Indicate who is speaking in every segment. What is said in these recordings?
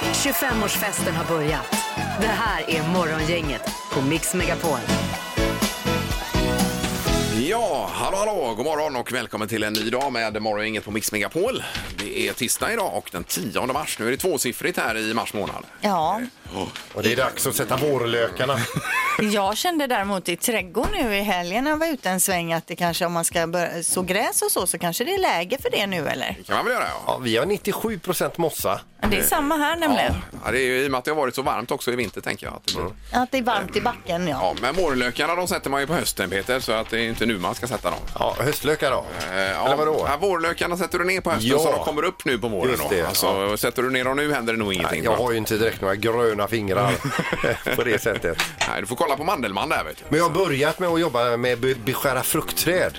Speaker 1: 25-årsfesten har börjat. Det här är Morgongänget på Mix Megapol.
Speaker 2: Ja, hallå hallå, god morgon och välkommen till en ny dag med Morgongänget på Mix Megapol. Det är tisdag idag och den 10 mars. Nu är det tvåsiffrigt här i mars månad.
Speaker 3: Ja,
Speaker 4: Och det är dags att sätta vårlökarna.
Speaker 3: jag kände däremot i trädgården nu i helgen när jag var ute en sväng att det kanske om man ska börja så gräs och så så kanske det är läge för det nu eller?
Speaker 2: Det kan man väl göra? Ja.
Speaker 4: Ja, vi har 97 procent mossa.
Speaker 3: Men Det är samma här nämligen.
Speaker 2: Ja, det är ju i och med att det har varit så varmt också i vinter tänker jag. Att det
Speaker 4: Mm.
Speaker 2: blir.
Speaker 3: Att det är varmt i backen ja.
Speaker 2: Ja, men vårlökarna de sätter man ju på hösten Peter, så att det är inte nu man ska sätta dem.
Speaker 4: Ja, höstlökar då.
Speaker 2: Eh, Ja,
Speaker 4: Eller vadå?
Speaker 2: Ja, vårlökarna sätter du ner på hösten
Speaker 4: Ja.
Speaker 2: så de kommer upp nu på våren.
Speaker 4: Just
Speaker 2: då.
Speaker 4: det,
Speaker 2: Alltså,
Speaker 4: ja.
Speaker 2: Sätter du ner dem nu händer det nog ingenting.
Speaker 4: Nej, jag har ju inte direkt några gröna fingrar på det sättet.
Speaker 2: Nej, du får kolla på Mandelmann där vet du.
Speaker 4: Men jag har börjat med att jobba med be- beskära fruktträd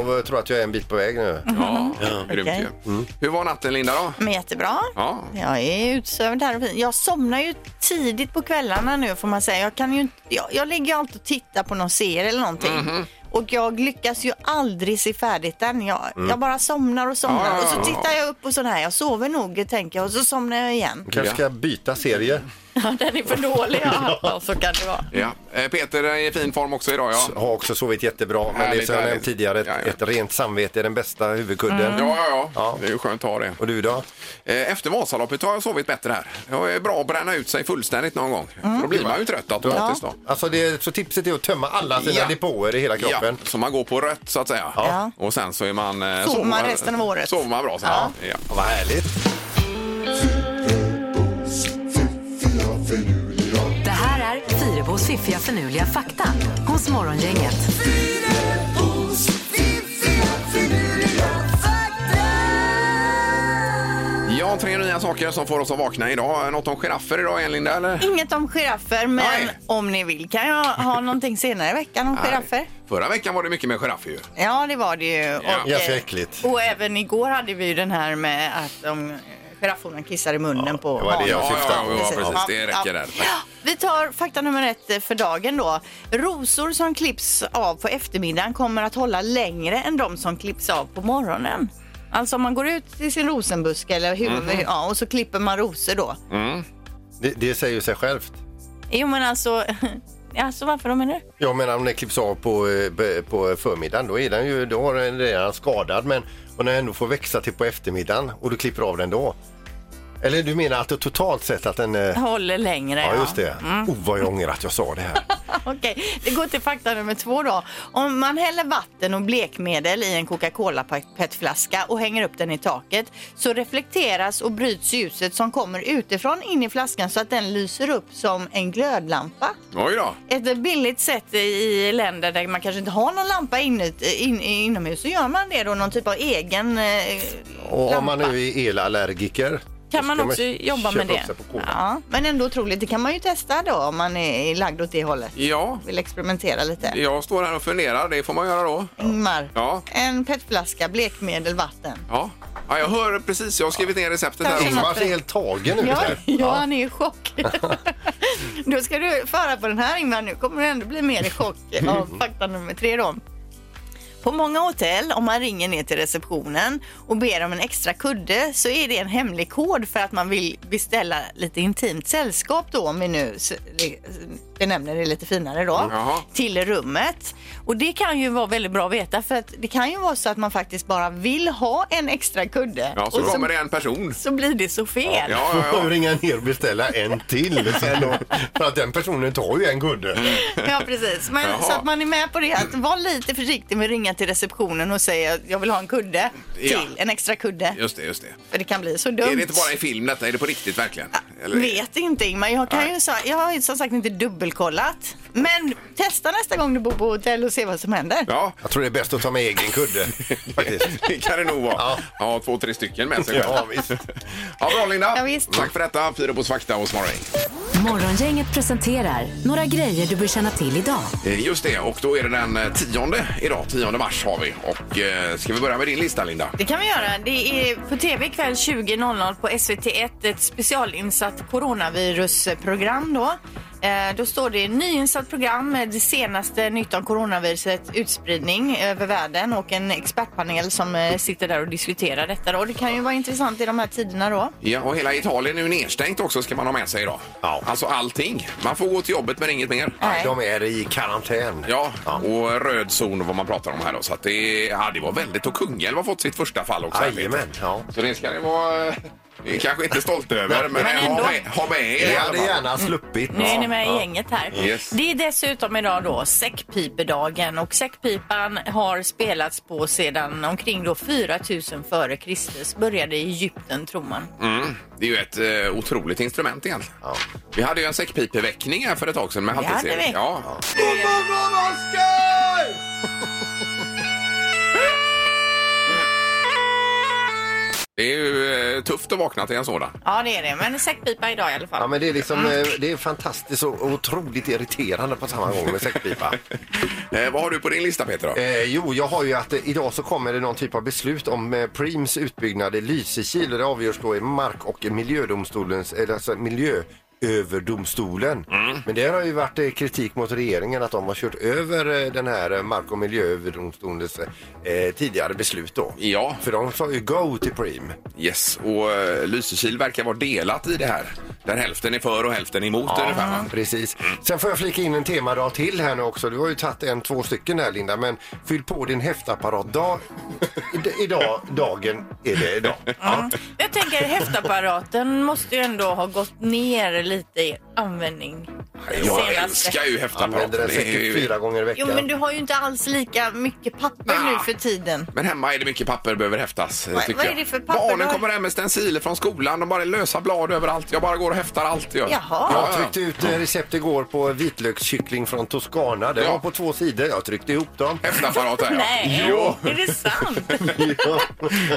Speaker 4: och jag tror att jag är en bit på väg nu.
Speaker 2: Mhm. Ja, grymt
Speaker 3: Okej.
Speaker 2: ju. Hur var natten Linda
Speaker 4: Mm.
Speaker 2: då?
Speaker 3: Men jättebra.
Speaker 2: Ja.
Speaker 3: Jag är utsövd här. och fin. Jag somnar ju tidigt på kvällarna nu får man säga. Jag, kan ju, inte- jag, jag ligger ju alltid och tittar på någon serie eller någonting.
Speaker 2: Mhm.
Speaker 3: Och jag lyckas ju aldrig se färdigt den. Jag, jag bara somnar och somnar.
Speaker 2: Mm. Ja, ja, ja,
Speaker 3: och så
Speaker 2: ja.
Speaker 3: tittar jag upp och så här. Jag sover nog tänker jag och så somnar jag igen.
Speaker 4: Kanske ska jag byta serie.
Speaker 3: Ja, den är för dålig. Ja. så kan det vara.
Speaker 2: Ja. Eh, Peter är i fin form också idag ja.
Speaker 4: Har också sovit jättebra, men det är
Speaker 2: Härligt,
Speaker 4: som jag
Speaker 2: härligt.
Speaker 4: nämnt tidigare, ett,
Speaker 2: Ja, ja.
Speaker 4: ett rent samvete är den bästa huvudkudden.
Speaker 2: Ja, ja, ja.
Speaker 4: Ja.
Speaker 2: Det är ju skönt att ha det.
Speaker 4: Och du då?
Speaker 2: Eh, Efter Vasaloppet har jag sovit bättre här. Det är bra att bränna ut sig fullständigt någon gång.
Speaker 3: Mm.
Speaker 2: Då blir man ju trött automatiskt då.
Speaker 4: Alltså det är, så tipset är att tömma alla sina
Speaker 2: Ja.
Speaker 4: depåer i hela
Speaker 2: Ja,
Speaker 4: kroppen.
Speaker 2: så man går på rött så att säga.
Speaker 3: Ja.
Speaker 2: Och sen så är man... eh,
Speaker 3: Sover man resten av året.
Speaker 2: Sover man bra sen. Ja.
Speaker 3: Ja.
Speaker 4: Vad härligt.
Speaker 1: Det här är Fyrebos fiffiga förnuliga fakta hos Morgongänget.
Speaker 2: ja, tre nya saker som får oss att vakna idag. Något om giraffer idag, Elin? där, Eller?
Speaker 3: Inget om giraffer, men
Speaker 2: Nej.
Speaker 3: om ni vill kan jag ha någonting senare i veckan om giraffer.
Speaker 2: Nej. Förra veckan var det mycket med giraffer ju.
Speaker 3: Ja, det var det ju. Och,
Speaker 4: Ja,
Speaker 3: eh,
Speaker 4: så äckligt.
Speaker 3: och även igår hade vi ju den här med att de eh, girafforna kissar i munnen på
Speaker 4: det var det jag
Speaker 3: hanen.
Speaker 4: syftade
Speaker 2: på. Ja, ja, precis. Det räcker där.
Speaker 3: Vi tar fakta nummer ett eh, för dagen då. Rosor som klipps av på eftermiddagen kommer att hålla längre än de som klipps av på morgonen. Alltså om man går ut till sin rosenbuske eller hur,
Speaker 2: Mhm.
Speaker 3: ja, och så klipper man rosor då.
Speaker 4: Det, det säger ju sig självt.
Speaker 3: Jo men alltså, alltså varför de är det?
Speaker 4: Jag menar om den klipps av på, eh, b- på förmiddagen då är den ju då är den redan skadad men och när den ändå får växa till på eftermiddagen och du klipper av den då. Eller du menar att det totalt sett att den... eh,
Speaker 3: Håller längre. Mm.
Speaker 4: Ja just det. Oh vad jag ångrar att jag sa det här.
Speaker 3: Okej, det går till fakta nummer två då. Om man häller vatten och blekmedel i en Coca-Cola petflaska och hänger upp den i taket så reflekteras och bryts ljuset som kommer utifrån in i flaskan så att den lyser upp som en glödlampa.
Speaker 2: Oj då.
Speaker 3: Ett billigt sätt i länder där man kanske inte har någon lampa inuti, in, inomhus så gör man det då, någon typ av egen eh,
Speaker 4: Och om
Speaker 3: lampa.
Speaker 4: man nu är elallergiker. då ska
Speaker 3: Kan man också jobba
Speaker 4: köpa
Speaker 3: med
Speaker 4: upp
Speaker 3: det?
Speaker 4: sig på kolan.
Speaker 3: Ja, men ändå otroligt. Det kan man ju testa då om man är lagd åt det hållet.
Speaker 2: Ja,
Speaker 3: Vill experimentera lite.
Speaker 2: jag står här och funderar. Det får man göra då.
Speaker 3: Ingmar.
Speaker 2: Ja.
Speaker 3: En petflaska, blekmedel, vatten.
Speaker 2: Ja, ja jag hör precis. Jag har skrivit ner receptet här
Speaker 3: Kanske
Speaker 2: också.
Speaker 3: man-
Speaker 4: Ingmar ser alltså helt tagen ut
Speaker 3: Ja,
Speaker 4: här.
Speaker 3: ja, han är i chock. då ska du föra på den här Ingmar. Nu kommer du ändå bli mer i chock
Speaker 2: Mm.
Speaker 3: av fakta nummer tre då. På många hotell, om man ringer ner till receptionen och ber om en extra kudde så är det en hemlig kod för att man vill beställa lite intimt sällskap då om vi nu s- benämner det lite finare då.
Speaker 2: Jaha.
Speaker 3: till rummet. Och det kan ju vara väldigt bra att veta för att det kan ju vara så att man faktiskt bara vill ha en extra kudde.
Speaker 2: Ja, så
Speaker 3: och
Speaker 2: kommer det en person.
Speaker 3: så blir det så fel.
Speaker 2: Ja,
Speaker 4: Då
Speaker 2: ja,
Speaker 4: får
Speaker 2: ja.
Speaker 4: man ringa ner och beställa en till sen då. För att den personen tar ju en kudde.
Speaker 3: Ja, precis. Men,
Speaker 2: Jaha.
Speaker 3: så att man är med på det. Att var lite försiktig med att ringa till receptionen och säga att jag vill ha en kudde till.
Speaker 2: Ja.
Speaker 3: En extra kudde.
Speaker 2: Just det, just det.
Speaker 3: För det kan bli så dumt.
Speaker 2: Är det inte bara i film detta? Är det på riktigt verkligen? Eller-
Speaker 3: Vet inte Ingmar. Jag, kan ju, sa- jag har ju som sagt inte dubbelkollat. Men testa nästa gång du bor på hotell och se vad som händer.
Speaker 2: Ja,
Speaker 4: Jag tror det är bäst att ta med egen kudde faktiskt.
Speaker 2: det kan det nog vara. Ja,
Speaker 4: Ja.
Speaker 2: två, tre stycken med sig
Speaker 4: Ja,
Speaker 2: själv.
Speaker 4: visst.
Speaker 2: Ja, bra Linda.
Speaker 3: Ja, visst.
Speaker 2: Tack för detta. Fyra på fakta och smarring.
Speaker 1: Morgongänget presenterar några grejer du bör känna till idag.
Speaker 2: Eh, Just det, och då är det den eh, tionde idag. Tionde mars har vi. Och eh, ska vi börja med din lista Linda?
Speaker 3: Det kan vi göra. Det är på tv ikväll 20.00 på SVT1 ett specialinsatt coronavirusprogram då. Eh, Då står det nyinsatt program med det senaste nytt om coronavirusets utspridning över världen och en expertpanel som eh, sitter där och diskuterar detta. Och det kan ju vara intressant i de här tiderna då.
Speaker 2: Ja, och hela Italien är ju nedstängt också ska man ha med sig idag.
Speaker 4: Ja.
Speaker 2: Alltså allting. Man får gå till jobbet men inget mer.
Speaker 3: Nej.
Speaker 4: De är i karantän.
Speaker 2: Ja, och röd zon och vad man pratar om här då. Så att det, ja, det var väldigt... Och Kungälv har fått sitt första fall också. här, Peter.
Speaker 4: Jajamän. Ja.
Speaker 2: Så det ska ni vara... Vi är kanske inte stolta över, men,
Speaker 3: Men ändå.
Speaker 2: ha, med, ha med er i
Speaker 4: Vi
Speaker 2: alla
Speaker 4: hade
Speaker 2: fall.
Speaker 4: gärna sluppit.
Speaker 3: Nu är ni med i gänget här.
Speaker 2: Yes.
Speaker 3: Det är dessutom idag då säckpipedagen och säckpipan har spelats på sedan omkring då 4000 före Kristus. Började i Egypten tror man.
Speaker 2: Mm. Det är ju ett eh, otroligt instrument egentligen.
Speaker 4: Ja.
Speaker 2: Vi hade ju en säckpipeväckning här för ett tag sedan med
Speaker 3: Det hade
Speaker 2: halvtids-Erik.
Speaker 3: vi.
Speaker 2: Ja. Det är ju eh, tufft att vakna till en sådan.
Speaker 3: Ja det är det, men säckpipa idag i alla fall.
Speaker 4: Ja, men det är liksom, eh, det är fantastiskt och otroligt irriterande på samma gång med säckpipa.
Speaker 2: Eh, vad har du på din lista Peter? Då?
Speaker 4: Eh, jo, jag har ju att eh, idag så kommer det någon typ av beslut om eh, Preems utbyggnad i Lysekil och det avgörs då i mark och miljödomstolens, eller alltså miljööverdomstolen. Men det har ju varit eh, kritik mot regeringen att de har kört över eh, den här eh, mark och miljööverdomstolens eh, tidigare beslut då.
Speaker 2: Ja,
Speaker 4: För de sa ju go till Preem.
Speaker 2: yes. Och eh, Lysekil verkar vara delat i det här. Där hälften är för och hälften är emot ungefär. va?
Speaker 4: Precis. Sen får jag flika in en temadag till här nu också. Du har ju tagit en, två stycken här Linda, men fyll på din häftapparat-dag. I- Idag, dagen är det idag. Ja.
Speaker 3: Jag tänker häftapparaten måste ju ändå ha gått ner lite i användning. den
Speaker 2: Jag
Speaker 3: senaste.
Speaker 2: älskar ju
Speaker 4: Använder
Speaker 2: häftapparaten.
Speaker 4: den
Speaker 2: Det är
Speaker 4: säkert
Speaker 2: ju-
Speaker 4: fyra gånger i
Speaker 3: Jo
Speaker 4: veckan.
Speaker 3: men du har ju inte alls lika mycket papper nu
Speaker 2: Ah.
Speaker 3: för tiden.
Speaker 2: Men hemma är det mycket papper behöver häftas. eh,
Speaker 3: Vad-
Speaker 2: tycker
Speaker 3: vad
Speaker 2: jag.
Speaker 3: är det för papper du
Speaker 2: Barnen
Speaker 3: har?
Speaker 2: kommer hem med stenciler från skolan. De bara är lösa blad överallt. Jag bara går och häftar allt. Jag.
Speaker 3: Jaha.
Speaker 2: Ja,
Speaker 4: Jag
Speaker 2: ja.
Speaker 4: tryckte ut eh, recept igår på vitlökskyckling från Toscana. Den
Speaker 2: Ja.
Speaker 4: var på två sidor. Jag tryckte ihop dem.
Speaker 2: Häftapparat där, ja.
Speaker 3: Nej,
Speaker 2: Jo,
Speaker 3: är det sant?
Speaker 4: Ja.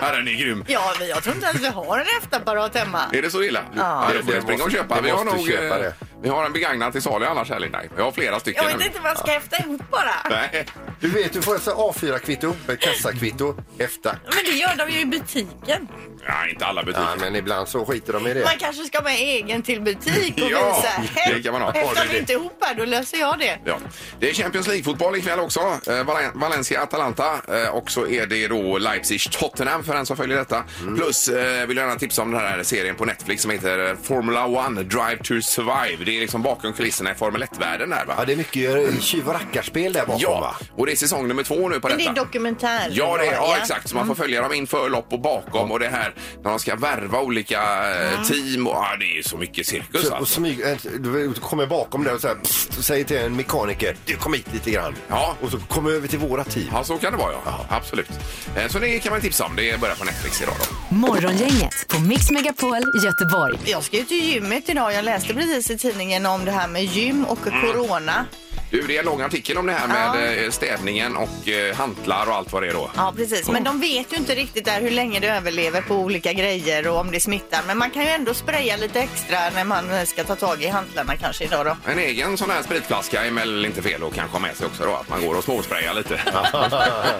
Speaker 2: ja, den är grym.
Speaker 3: Ja, men jag tror inte ens vi har en häftapparat hemma.
Speaker 2: Är det så illa?
Speaker 3: Ja.
Speaker 2: då får
Speaker 4: Det
Speaker 2: jag springa och
Speaker 4: måste-
Speaker 2: köpa.
Speaker 4: det
Speaker 2: Vi har,
Speaker 4: måste
Speaker 2: nog,
Speaker 4: köpa
Speaker 2: eh,
Speaker 4: det.
Speaker 2: vi har en begagnad till salu annars här, Linda. Vi har flera stycken.
Speaker 3: Jag vet inte vad jag ska häfta ihop bara.
Speaker 2: Nej.
Speaker 4: Du vet, du får alltså A4-kvitto, eh, kassakvitto, häfta.
Speaker 3: Men det gör de ju i butiken.
Speaker 2: Ja, inte alla butiker.
Speaker 4: Ja, men ibland så skiter de i det.
Speaker 3: Man kanske ska ha med egen till butik och
Speaker 2: Ja,
Speaker 3: visa.
Speaker 2: det kan man ha.
Speaker 3: Häftar
Speaker 2: Har du
Speaker 3: vi inte ihop här, då löser jag det.
Speaker 2: Ja. Det är Champions League-fotboll ikväll också. Eh, Valen- Valencia-Atalanta eh, och så är det då Leipzig-Tottenham för den som följer detta.
Speaker 4: Mm.
Speaker 2: Plus eh, vill jag gärna tipsa om den här serien på Netflix som heter eh, Formula 1 Drive to Survive. Det är liksom bakom kulisserna i Formel 1-världen där va?
Speaker 4: Ja, det är mycket eh, tjuv och rackarspel där bakom,
Speaker 2: Ja,
Speaker 4: va?
Speaker 2: och det är säsong nummer två nu på
Speaker 3: Men det
Speaker 2: detta.
Speaker 3: är Mm. dokumentär.
Speaker 2: Ja, det är, ja, exakt. Så man får följa dem inför lopp och bakom och det här när de ska värva olika eh, team. Och, ja, det är ju så mycket cirkus
Speaker 4: Så, och
Speaker 2: alltså.
Speaker 4: smyg, eh, du kommer bakom där och så här, pst, och säger till en mekaniker du kom hit lite grann.
Speaker 2: Ja.
Speaker 4: Och så kom över till våra team.
Speaker 2: Ja, så kan det vara ja. Absolut. Eh, Så det kan man tipsa om. Det börjar på Netflix idag då.
Speaker 1: Morgongänget på Mix Megapol Göteborg.
Speaker 3: Jag ska ju till gymmet idag. Jag läste precis i tidningen om det här med gym och
Speaker 2: Mm.
Speaker 3: corona.
Speaker 2: Du, det är en lång artikel om det här med eh, städningen och eh, hantlar och allt vad det är då.
Speaker 3: Ja, precis. Men de vet ju inte riktigt där hur länge du överlever på olika grejer och om det smittar. Men man kan ju ändå spraya lite extra när man eh, ska ta tag i hantlarna kanske idag då.
Speaker 2: En egen sån här spritflaska är väl inte fel att kanske ha med sig också då, att man går och småsprayar lite. ja,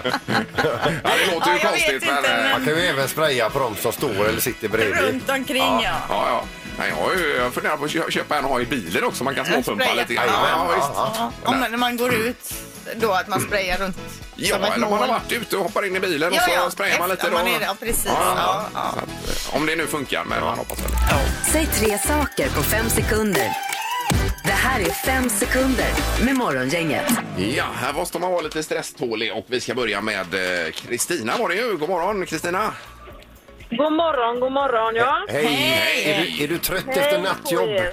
Speaker 2: det låter ju
Speaker 3: Ja, jag vet
Speaker 2: konstigt
Speaker 3: inte,
Speaker 2: men... eh,
Speaker 4: Man kan ju även spraya på dem som står eller sitter bredvid.
Speaker 3: Runt omkring ja.
Speaker 2: Ja, ja. Nej, jag, har ju, jag funderar på att kö- köpa en och ha i bilen också. Man kan småpumpa
Speaker 3: Spraya.
Speaker 2: lite grann.
Speaker 4: Jajamän,
Speaker 2: Ja, visst.
Speaker 4: ja,
Speaker 3: Ja, om man, när man går ut då att man sprayar runt
Speaker 2: Ja,
Speaker 3: som ett
Speaker 2: eller om man har
Speaker 3: mål.
Speaker 2: varit ute och hoppar in i bilen och så sprayar man lite.
Speaker 3: efter
Speaker 2: Då.
Speaker 3: Man är, ja, precis.
Speaker 2: Ja, ja.
Speaker 3: Ja, ja.
Speaker 2: Så att, eh, om det nu funkar, men man hoppas väl.
Speaker 1: Säg tre saker på fem sekunder. Det här är fem sekunder med Morgongänget.
Speaker 2: Ja, här måste man vara lite stresstålig och vi ska börja med eh, Kristina var det ju. God morgon Kristina!
Speaker 5: God morgon, god morgon, ja.
Speaker 4: Hej!
Speaker 2: Hej.
Speaker 4: Är, du, är du trött
Speaker 5: Hej
Speaker 4: efter
Speaker 5: på
Speaker 4: nattjobb?
Speaker 5: er.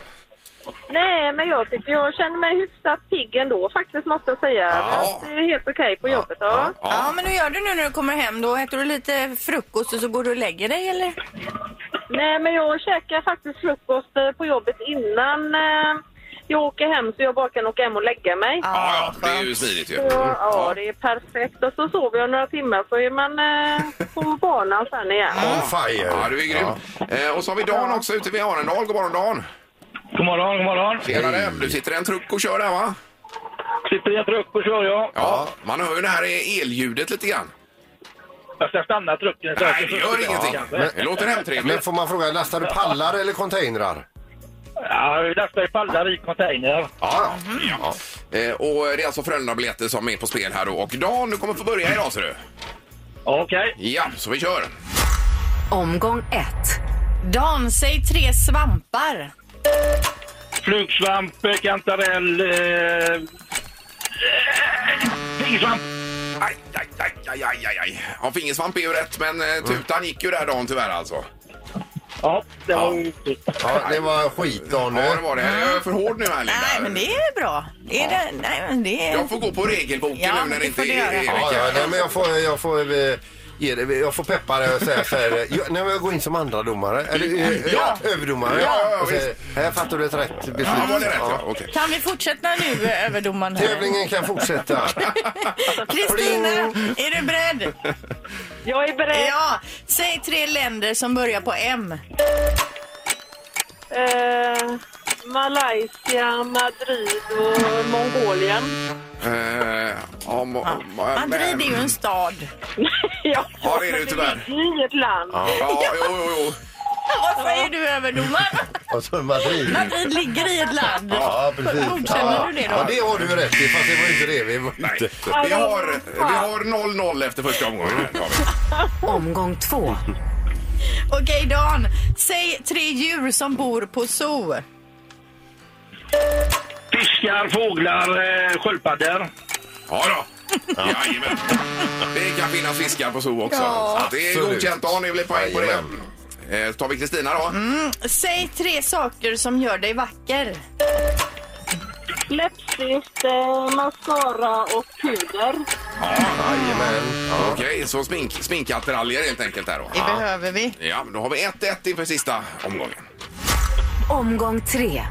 Speaker 5: Nej, men jag tycker jag känner mig hyfsat pigg ändå faktiskt måste jag säga.
Speaker 2: Ja.
Speaker 5: Det är helt okej på jobbet. Ja.
Speaker 3: Ja, men hur gör du nu när du kommer hem? Då äter du lite frukost och så går du och lägger dig eller?
Speaker 5: Nej, men jag käkar faktiskt frukost eh, på jobbet innan eh, jag åker hem så jag bara kan åka hem och lägga mig. Ja.
Speaker 2: Ja, ja, det är ju smidigt ju.
Speaker 5: Så, ja, det är perfekt. Och så sover jag några timmar så är man eh, på banan sen igen.
Speaker 4: On fire!
Speaker 2: Ja, du är grym. Eh, och så har vi Dan också ute vid Arendal. God morgon Dan!
Speaker 6: God morgon, god morgon.
Speaker 2: Tjenare! Du sitter i en truck och kör där va?
Speaker 6: Sitter i en truck och kör jag.
Speaker 2: Ja, man hör ju det här elljudet lite grann.
Speaker 6: Jag ska stanna trucken. så jag
Speaker 2: Nej,
Speaker 6: ska
Speaker 2: det gör
Speaker 6: fortsätta
Speaker 2: ingenting.
Speaker 6: kanske.
Speaker 2: Det låter
Speaker 4: Men
Speaker 2: hemtrevligt.
Speaker 4: får man fråga, lastar du pallar eller containrar?
Speaker 6: Ja, vi lastar ju pallar i container.
Speaker 2: Ja, ja. ja. Eh, och det är alltså Frölunda-biljetter som är på spel här då. Och Dan, du kommer få börja idag ser du.
Speaker 6: Okej.
Speaker 2: Ja, så vi kör.
Speaker 1: Omgång ett.
Speaker 3: Dan, säg tre svampar.
Speaker 6: Flugsvamp, eh, kantarell... Eh, eh, Fingersvamp!
Speaker 2: Aj, aj, aj, aj, aj, aj, aj. Ja, fingersvamp är ju rätt, men eh, tutan gick ju där Dan tyvärr alltså.
Speaker 6: Ja, det var
Speaker 2: Ja.
Speaker 6: otur.
Speaker 4: Ja, det var skit Dan
Speaker 2: Ja, det
Speaker 4: nu.
Speaker 2: var det. Jag är för hård nu här Linda.
Speaker 3: Nej, men det är bra. Det är det, nej, men det är...
Speaker 2: Jag får gå på regelboken
Speaker 3: Ja,
Speaker 2: nu
Speaker 3: men
Speaker 2: när
Speaker 3: det
Speaker 2: det inte
Speaker 3: får du
Speaker 2: är
Speaker 3: göra.
Speaker 2: Erik
Speaker 4: Ja, ja,
Speaker 2: här.
Speaker 4: nej, men jag får, jag får, eh, ge det, jag får peppa dig och säga så här. eh, Jag, nej, men jag går in som andra domare. Eller, eh,
Speaker 2: Ja.
Speaker 4: Överdomare.
Speaker 2: Ja, ja, ja,
Speaker 4: och säger, här fattar du ett rätt beslut.
Speaker 2: Ja, var det rätt?
Speaker 4: Ja.
Speaker 2: Ja, okej.
Speaker 3: Kan vi fortsätta nu, eh, överdomaren? här? Alltså,
Speaker 4: Tävlingen kan fortsätta.
Speaker 3: Kristina, är du beredd?
Speaker 5: Jag är beredd.
Speaker 3: Ja, säg tre länder som börjar på M.
Speaker 5: Eh, Malaysia, Madrid och Mongolien.
Speaker 2: Eh, ja, må- må-
Speaker 3: Madrid är ju en stad.
Speaker 5: ja,
Speaker 2: Ja, det är det ju
Speaker 5: men
Speaker 2: tyvärr.
Speaker 5: ligger ju i ett land.
Speaker 2: Ja, jo, jo, jo.
Speaker 3: Vad säger du, överdomaren?
Speaker 4: Och så Madrid.
Speaker 3: Madrid ligger i ett land.
Speaker 4: Ja, precis.
Speaker 3: Godkänner
Speaker 4: ja.
Speaker 3: du det då?
Speaker 4: Ja, det har du ju rätt i. Fast det var ju inte det vi var
Speaker 2: Nej.
Speaker 4: ute
Speaker 2: Vi har, vi har 0-0 efter första omgången. här, har vi.
Speaker 1: Omgång två.
Speaker 3: Okej, Dan. Säg tre djur som bor på zoo.
Speaker 6: Fiskar, fåglar, eh, sköldpaddor.
Speaker 2: Ja då. Jajamän. Det kan finnas fiskar på zoo också.
Speaker 3: Ja.
Speaker 2: Så att det är
Speaker 4: Absolut.
Speaker 2: godkänt. Dan, det blir poäng på det.
Speaker 4: Jajamän.
Speaker 2: Eh, tar vi Kristina då?
Speaker 3: Mm. Säg tre saker som gör dig vacker.
Speaker 5: Läppstift, eh, mascara och puder.
Speaker 4: Jajamän. Ja.
Speaker 2: Okej, så smink, sminkattiraljer helt enkelt där då.
Speaker 3: Det behöver vi.
Speaker 2: Ja, då har vi 1-1 inför sista omgången.
Speaker 1: Omgång tre.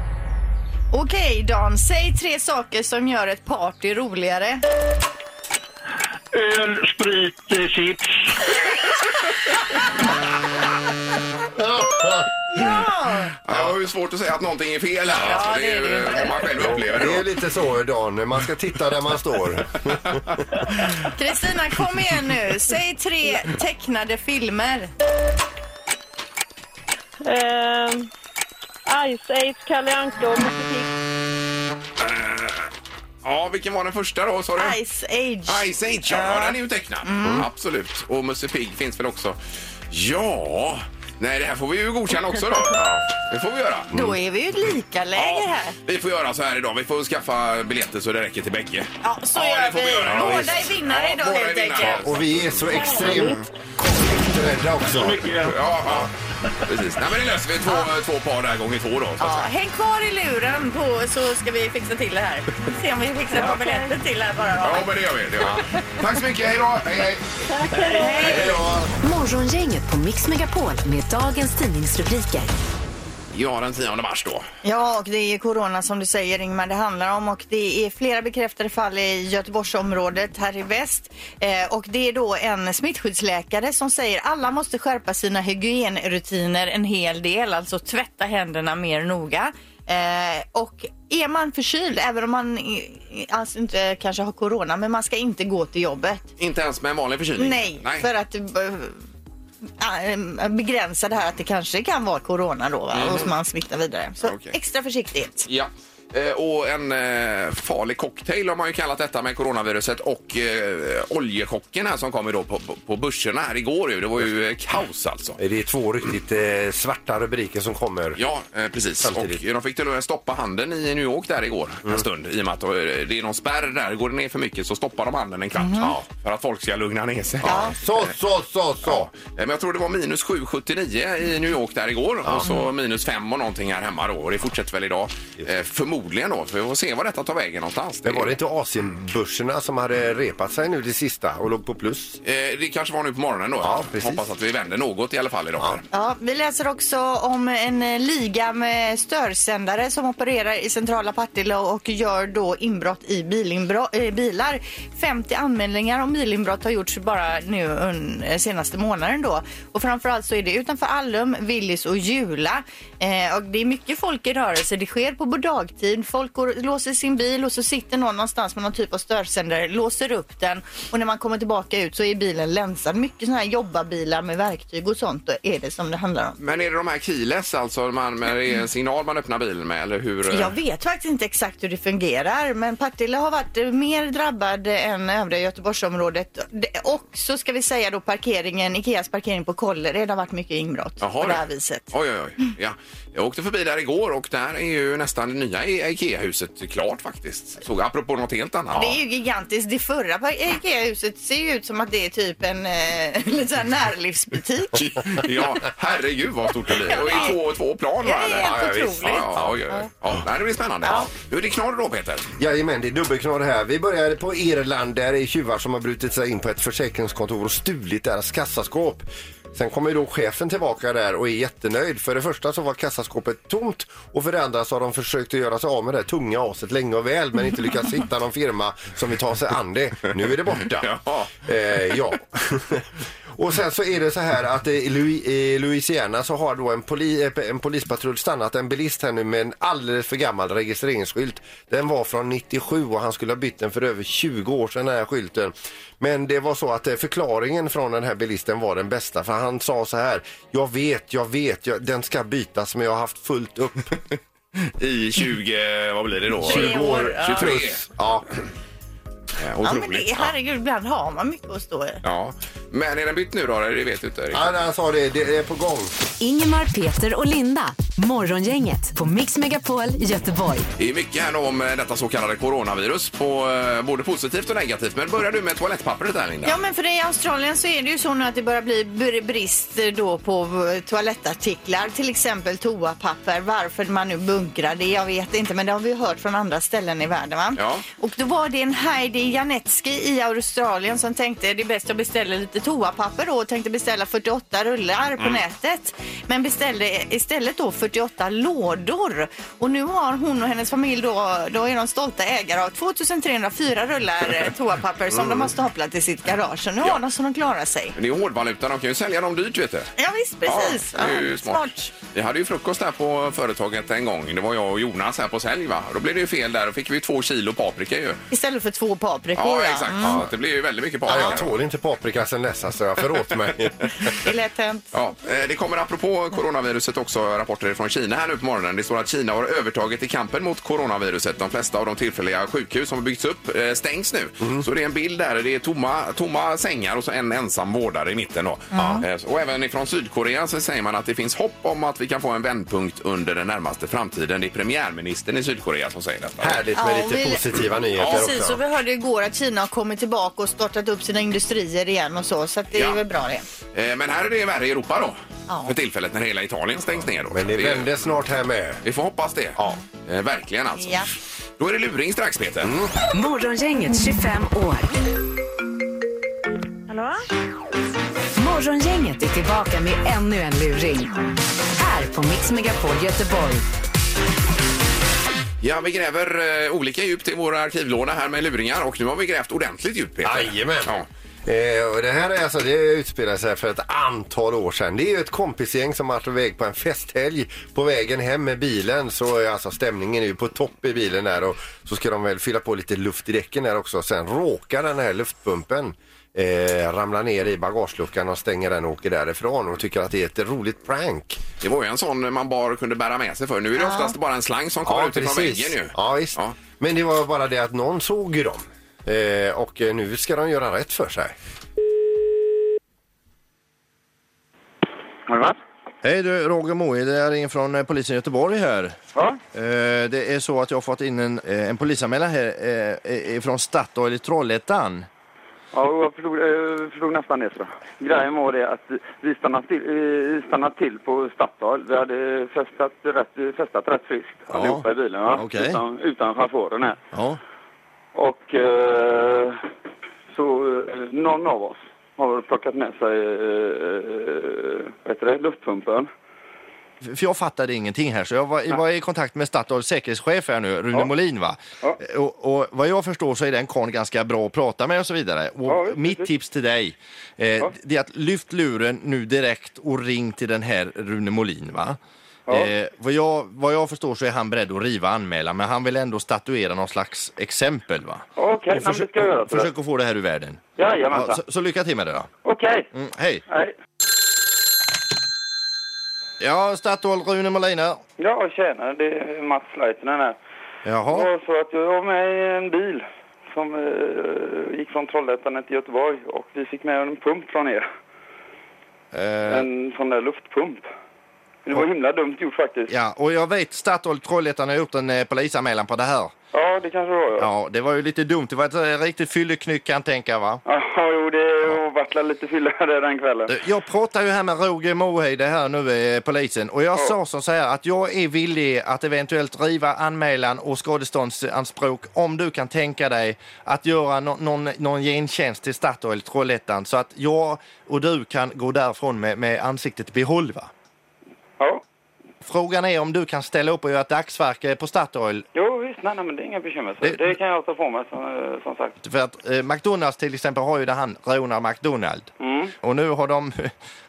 Speaker 3: Okej, Dan. Säg tre saker som gör ett party roligare.
Speaker 6: Öl, sprit, eh, chips.
Speaker 2: Ja, jag har ju svårt att säga att någonting är fel här. alltså,
Speaker 3: det är
Speaker 2: ju
Speaker 3: det ju.
Speaker 2: vad man själv upplever
Speaker 4: Det är
Speaker 2: det.
Speaker 4: lite så Dan, man ska titta där man står.
Speaker 3: Kristina, kom igen nu. Säg tre tecknade filmer.
Speaker 5: Eh, Ice Age, Kalle Anka och Musse Pigg.
Speaker 2: Ja, vilken var den första då, sa du?
Speaker 3: Ice Age.
Speaker 2: Ice Age, ja, den är ju tecknad. Absolut. Och Musse Pigg finns väl också. Ja... Nej, det här får vi ju godkänna också då. Det får vi göra.
Speaker 3: Då är vi ju ett lika läge här.
Speaker 2: vi får göra så här idag. Vi får skaffa biljetter så det räcker till bägge.
Speaker 3: Ja, så
Speaker 2: Ja, det
Speaker 3: gör
Speaker 2: får
Speaker 3: vi.
Speaker 2: vi göra. Ja,
Speaker 3: Båda
Speaker 2: visst.
Speaker 3: är vinnare
Speaker 2: Ja,
Speaker 3: idag
Speaker 2: båda är
Speaker 3: helt
Speaker 2: vinnare.
Speaker 3: enkelt.
Speaker 4: Och vi är så extremt konflikträdda också.
Speaker 6: Mycket.
Speaker 2: Ja, ja. precis. Nej, men det löser vi. Två, två par där gånger två då. Så
Speaker 3: Ja,
Speaker 2: att säga.
Speaker 3: häng kvar i luren på, så ska vi fixa till det här. Se om vi fixar på biljetter till här bara.
Speaker 2: Ja,
Speaker 3: Då.
Speaker 2: men det gör vi. Det gör vi. Tack så mycket. Hej då. Hej, hej. Hej då.
Speaker 1: Morgongänget på Mix Megapol med dagens tidningsrubriker.
Speaker 2: Ja, den 10 mars då.
Speaker 3: Ja, och det är corona som du säger Ingmar det handlar om och det är flera bekräftade fall i Göteborgsområdet här i väst. Eh, och det är då en smittskyddsläkare som säger alla måste skärpa sina hygienrutiner en hel del, alltså tvätta händerna mer noga. Eh, och är man förkyld, även om man i- alltså inte kanske har corona, men man ska inte gå till jobbet.
Speaker 2: Inte ens med en vanlig förkylning?
Speaker 3: Nej, för att eh, eh, begränsa det här att det kanske kan vara corona då va? och man smittar vidare. Så
Speaker 2: Okej.
Speaker 3: extra försiktighet.
Speaker 2: Ja. Eh, Och en eh, farlig cocktail har man ju kallat detta med coronaviruset och eh, oljechocken här som kom ju då på, på, på börserna här igår. Ju. Det var ju eh, kaos alltså.
Speaker 4: Det är två riktigt eh, svarta rubriker som kommer.
Speaker 2: Ja, eh, precis.
Speaker 4: Samtidigt.
Speaker 2: Och de fick till och med stoppa handeln i New York där igår en
Speaker 4: Mm.
Speaker 2: stund. I och med att eh, det är någon spärr där. Går det ner för mycket så stoppar de handeln en kvart.
Speaker 4: Mm.
Speaker 2: Ja, för att folk ska lugna ner sig.
Speaker 4: Så, så, så, så.
Speaker 2: Ja, eh, men jag tror det var minus 7,79 i New York där igår och så minus 5 och någonting här hemma då och det fortsätter väl idag. Eh, förmodligen då, för vi får se var detta tar vägen någonstans.
Speaker 4: Men var det inte Asienbörserna som hade repat sig nu det sista och låg på plus?
Speaker 2: Eh, det kanske var nu på morgonen då.
Speaker 4: Ja, precis.
Speaker 2: Hoppas att vi vänder något i alla fall idag. här.
Speaker 3: Ja, vi läser också om en eh, liga med störsändare som opererar i centrala Partille och gör då inbrott i bilinbro- eh, bilar. 50 anmälningar om bilinbrott har gjorts bara nu un- eh, senaste månaden då. Och framförallt så är det utanför Allum, Willys och Jula. Eh, och det är mycket folk i rörelse. Det sker på dagtid tid. Folk går, låser sin bil och så sitter någon någonstans med någon typ av störsändare, låser upp den och när man kommer tillbaka ut så är bilen länsad. Mycket sådana här jobbarbilar med verktyg och sånt då är det som det handlar om.
Speaker 2: Men är det de här keyless, alltså man, men det är en signal man öppnar bilen med? Eller hur? eh?
Speaker 3: Jag vet faktiskt inte exakt hur det fungerar men Partille har varit eh, mer drabbad än övriga Göteborgsområdet. Det- Och så ska vi säga då parkeringen, Ikeas parkering på Kållered har varit mycket inbrott
Speaker 2: Jaha,
Speaker 3: på det här
Speaker 2: du.
Speaker 3: viset.
Speaker 2: Oj, oj, oj. Ja. Jag åkte förbi där igår och där är ju nästan det nya I- IKEA-huset klart faktiskt. Så, apropå något helt annat.
Speaker 3: Det är ju gigantiskt. Det förra par- IKEA-huset ser ju ut som att det är typ en eh, lite så här närlivsbutik.
Speaker 2: Ja, herregud vad stort det blir. Och i två, två plan va?
Speaker 3: Ja, det är
Speaker 2: eller?
Speaker 3: helt
Speaker 2: ja, visst.
Speaker 3: otroligt.
Speaker 2: Ja, ja, oj, oj, oj. ja, nej, det blir spännande. Nu är det knorr då Peter.
Speaker 4: Jajamän, det är dubbelknorr här. Vi börjar på Irland. Där är tjuvar som har brutit sig in på ett försäkringskontor och stulit deras kassaskåp. Sen kommer då chefen tillbaka där och är jättenöjd. För det första så var kassaskåpet tomt och för det andra så har de försökt att göra sig av med det tunga aset länge och väl men inte lyckats hitta någon firma som vill ta sig an det. Nu är det borta.
Speaker 2: Jaha.
Speaker 4: Eh, ja. Och sen så är det så här att eh, i Lu- i Louisiana så har då en, poli, eh, en polispatrull stannat en bilist här nu med en alldeles för gammal registreringsskylt. Den var från 97 och han skulle ha bytt den för över 20 år sedan den här skylten. Men det var så att eh, förklaringen från den här bilisten var den bästa för han sa så här. Jag vet, jag vet, jag, den ska bytas men jag har haft fullt upp.
Speaker 2: I 20, vad blir det då?
Speaker 3: 20 år, ja.
Speaker 2: 23.
Speaker 4: Ja.
Speaker 2: Eh,
Speaker 3: Ja, men
Speaker 2: Otroligt.
Speaker 3: det, herregud, ibland har man mycket att stå i.
Speaker 2: Ja. Men är den bytt nu då? eller? Det vet du inte. riktigt.
Speaker 4: Ja, han sa det, det är på gång.
Speaker 1: Ingemar, Peter och Linda. Morgongänget på Mix Megapol Göteborg.
Speaker 2: Det är mycket här om eh, detta så kallade coronavirus, på, eh, både positivt och negativt. Men börjar du med toalettpappret där Linda?
Speaker 3: Ja, men för i Australien så är det ju så nu att det börjar bli br- brist eh, då på eh, toalettartiklar, till exempel toapapper. Varför man nu bunkrar det, jag vet inte, men det har vi hört från andra ställen i världen. Va?
Speaker 2: Ja.
Speaker 3: Och då var det en Heidi Janetski i Australien som tänkte det är bäst jag beställer lite toapapper då och tänkte beställa 48 rullar
Speaker 2: Mm.
Speaker 3: på nätet. Men beställde istället då 48 lådor. Och nu har hon och hennes familj då, då är de stolta ägare av 2304 rullar eh, toapapper som
Speaker 2: Mm.
Speaker 3: de har staplat i sitt garage. Och nu har de så de klarar sig.
Speaker 2: Det är hårdvaluta, de kan ju sälja dem dyrt vet du.
Speaker 3: Ja visst, precis.
Speaker 2: Ja, det är ju
Speaker 3: Ja,
Speaker 2: smart. Vi hade ju frukost där på företaget en gång. Det var jag och Jonas här på sälj va? Då blev det ju fel där. Då fick vi två kilo paprika ju.
Speaker 3: Istället för två paprikor.
Speaker 2: Ja,
Speaker 3: ja.
Speaker 2: exakt.
Speaker 3: Mm,
Speaker 2: Så att det blev ju väldigt mycket
Speaker 4: Ja,
Speaker 2: paprika.
Speaker 4: jag tål inte paprika sen dess så jag förlåt mig.
Speaker 3: Det är lätt hänt.
Speaker 2: Ja, eh, det kommer apropå coronaviruset också rapporter från Kina här nu på morgonen. Det står att Kina har övertaget i kampen mot coronaviruset. De flesta av de tillfälliga sjukhus som har byggts upp eh, stängs nu.
Speaker 4: Mm.
Speaker 2: Så det är en bild där. Det är tomma, tomma sängar och så en ensam vårdare i mitten. Då. Eh, Och även från Sydkorea så säger man att det finns hopp om att vi kan få en vändpunkt under den närmaste framtiden. Det är premiärministern i Sydkorea som säger detta.
Speaker 4: Härligt med
Speaker 3: Ja,
Speaker 4: lite
Speaker 3: vi-
Speaker 4: positiva nyheter
Speaker 3: Precis,
Speaker 4: också.
Speaker 3: och vi hörde igår att Kina har kommit tillbaka och startat upp sina industrier igen och så, så att det
Speaker 2: Ja.
Speaker 3: är väl bra det.
Speaker 2: Eh, Men här är det värre i Europa då.
Speaker 3: Ja.
Speaker 2: För tillfället när hela Italien stängs ner. Då.
Speaker 4: Men det vände snart här med.
Speaker 2: Vi får hoppas det.
Speaker 4: Ja.
Speaker 2: Eh, verkligen alltså.
Speaker 3: Ja.
Speaker 2: Då är det luring strax Peter.
Speaker 1: Morgongänget 25 år.
Speaker 5: Hallå?
Speaker 1: Morgongänget är tillbaka med ännu en luring. Här på Mix Megapol Göteborg.
Speaker 2: Ja, vi gräver eh, olika djupt i våra arkivlåda här med luringar och nu har vi grävt ordentligt djupt Peter.
Speaker 4: Jajamän.
Speaker 2: Ja.
Speaker 4: Eh, och det här är alltså, det utspelar sig för ett antal år sedan. Det är ju ett kompisgäng som varit iväg på en festhelg. På vägen hem med bilen så är alltså stämningen är ju på topp i bilen där och så ska de väl fylla på lite luft i däcken där också. Sen råkar den här luftpumpen eh, ramla ner i bagageluckan och stänger den och åker därifrån och tycker att det är ett roligt prank.
Speaker 2: Det var ju en sån man bara kunde bära med sig för. Nu är det oftast bara en slang som kommer ut ifrån väggen ju.
Speaker 4: Ja, visst.
Speaker 2: Ja.
Speaker 4: Men det var bara det att någon såg ju dem. Eh, och eh, nu ska de göra rätt för sig.
Speaker 6: Ja.
Speaker 7: Hej du, Roger Moe, det är in från eh, polisen i Göteborg här. Eh, det är så att jag har fått in en, eh, en polisanmälan här eh, eh, från Statoil i Trollhättan.
Speaker 8: Ja, och jag förstod, eh, förstod nästan det. Så. Grejen var det att vi stannade till, eh, stannade till på Statoil. Vi hade festat rätt, festat rätt friskt allihopa i bilen. Va?
Speaker 7: Okej.
Speaker 8: Utan, utan chauffören här.
Speaker 7: Ja.
Speaker 8: Och eh, så eh, någon av oss har plockat med sig eh, vad heter det, luftpumpen.
Speaker 7: F- För jag fattade ingenting här, så jag var, jag var i kontakt med Statoils säkerhetschef här nu, Rune Molin va?
Speaker 8: Ja.
Speaker 7: Eh, Och, och vad jag förstår så är den karln ganska bra att prata med och så vidare. Och
Speaker 8: Ja, visst,
Speaker 7: mitt
Speaker 8: visst.
Speaker 7: tips till dig, eh, det är att lyft luren nu direkt och ring till den här Rune Molin va?
Speaker 6: Eh, vad, jag, vad jag förstår så är han beredd att riva anmälan, men han vill ändå statuera någon slags exempel va?
Speaker 8: Okej,
Speaker 6: Och
Speaker 8: men det ska jag göra. så.
Speaker 6: försök att få det här ur världen. Ja,
Speaker 8: Jajamensan.
Speaker 6: så, så lycka till med det då.
Speaker 8: Okej.
Speaker 6: Mm, hej!
Speaker 8: Nej.
Speaker 6: Ja, Statoil Rune Molin här.
Speaker 8: Ja, tjena. Det är Mats Leitinen här. Det
Speaker 6: Jaha.
Speaker 8: var så att jag var med i en bil som eh, gick från Trollhättan till Göteborg och vi fick med en pump från er.
Speaker 6: Eh,
Speaker 8: En sån där luftpump. Det var himla dumt gjort faktiskt.
Speaker 6: ja, och jag vet Statoil Trollhättan har gjort en eh, polisanmälan på det här.
Speaker 8: Ja, det kanske det var. Ja,
Speaker 6: Ja, det var ju lite dumt. Det var ett eh, riktigt fylleknyck kan jag tänka va?
Speaker 8: ja jo, det vart väl lite fylla där den kvällen.
Speaker 6: Du, Jag pratar ju här med Roger Moheide här nu, eh, polisen, och jag sa som så här att jag är villig att eventuellt riva anmälan och skadeståndsanspråk om du kan tänka dig att göra no någon, någon gentjänst till Statoil Trollhättan så att jag och du kan gå därifrån med, med ansiktet i behåll. Va?
Speaker 8: Ja.
Speaker 6: Frågan är om du kan ställa upp och göra ett dagsverke på Statoil.
Speaker 8: Jo, visst. Nej, nej, men det är inga bekymmer. Så.
Speaker 6: Det-
Speaker 8: Det... kan jag ta på mig, som, som sagt.
Speaker 6: För att eh, McDonalds till exempel har ju där han rånar McDonald. Och nu har de,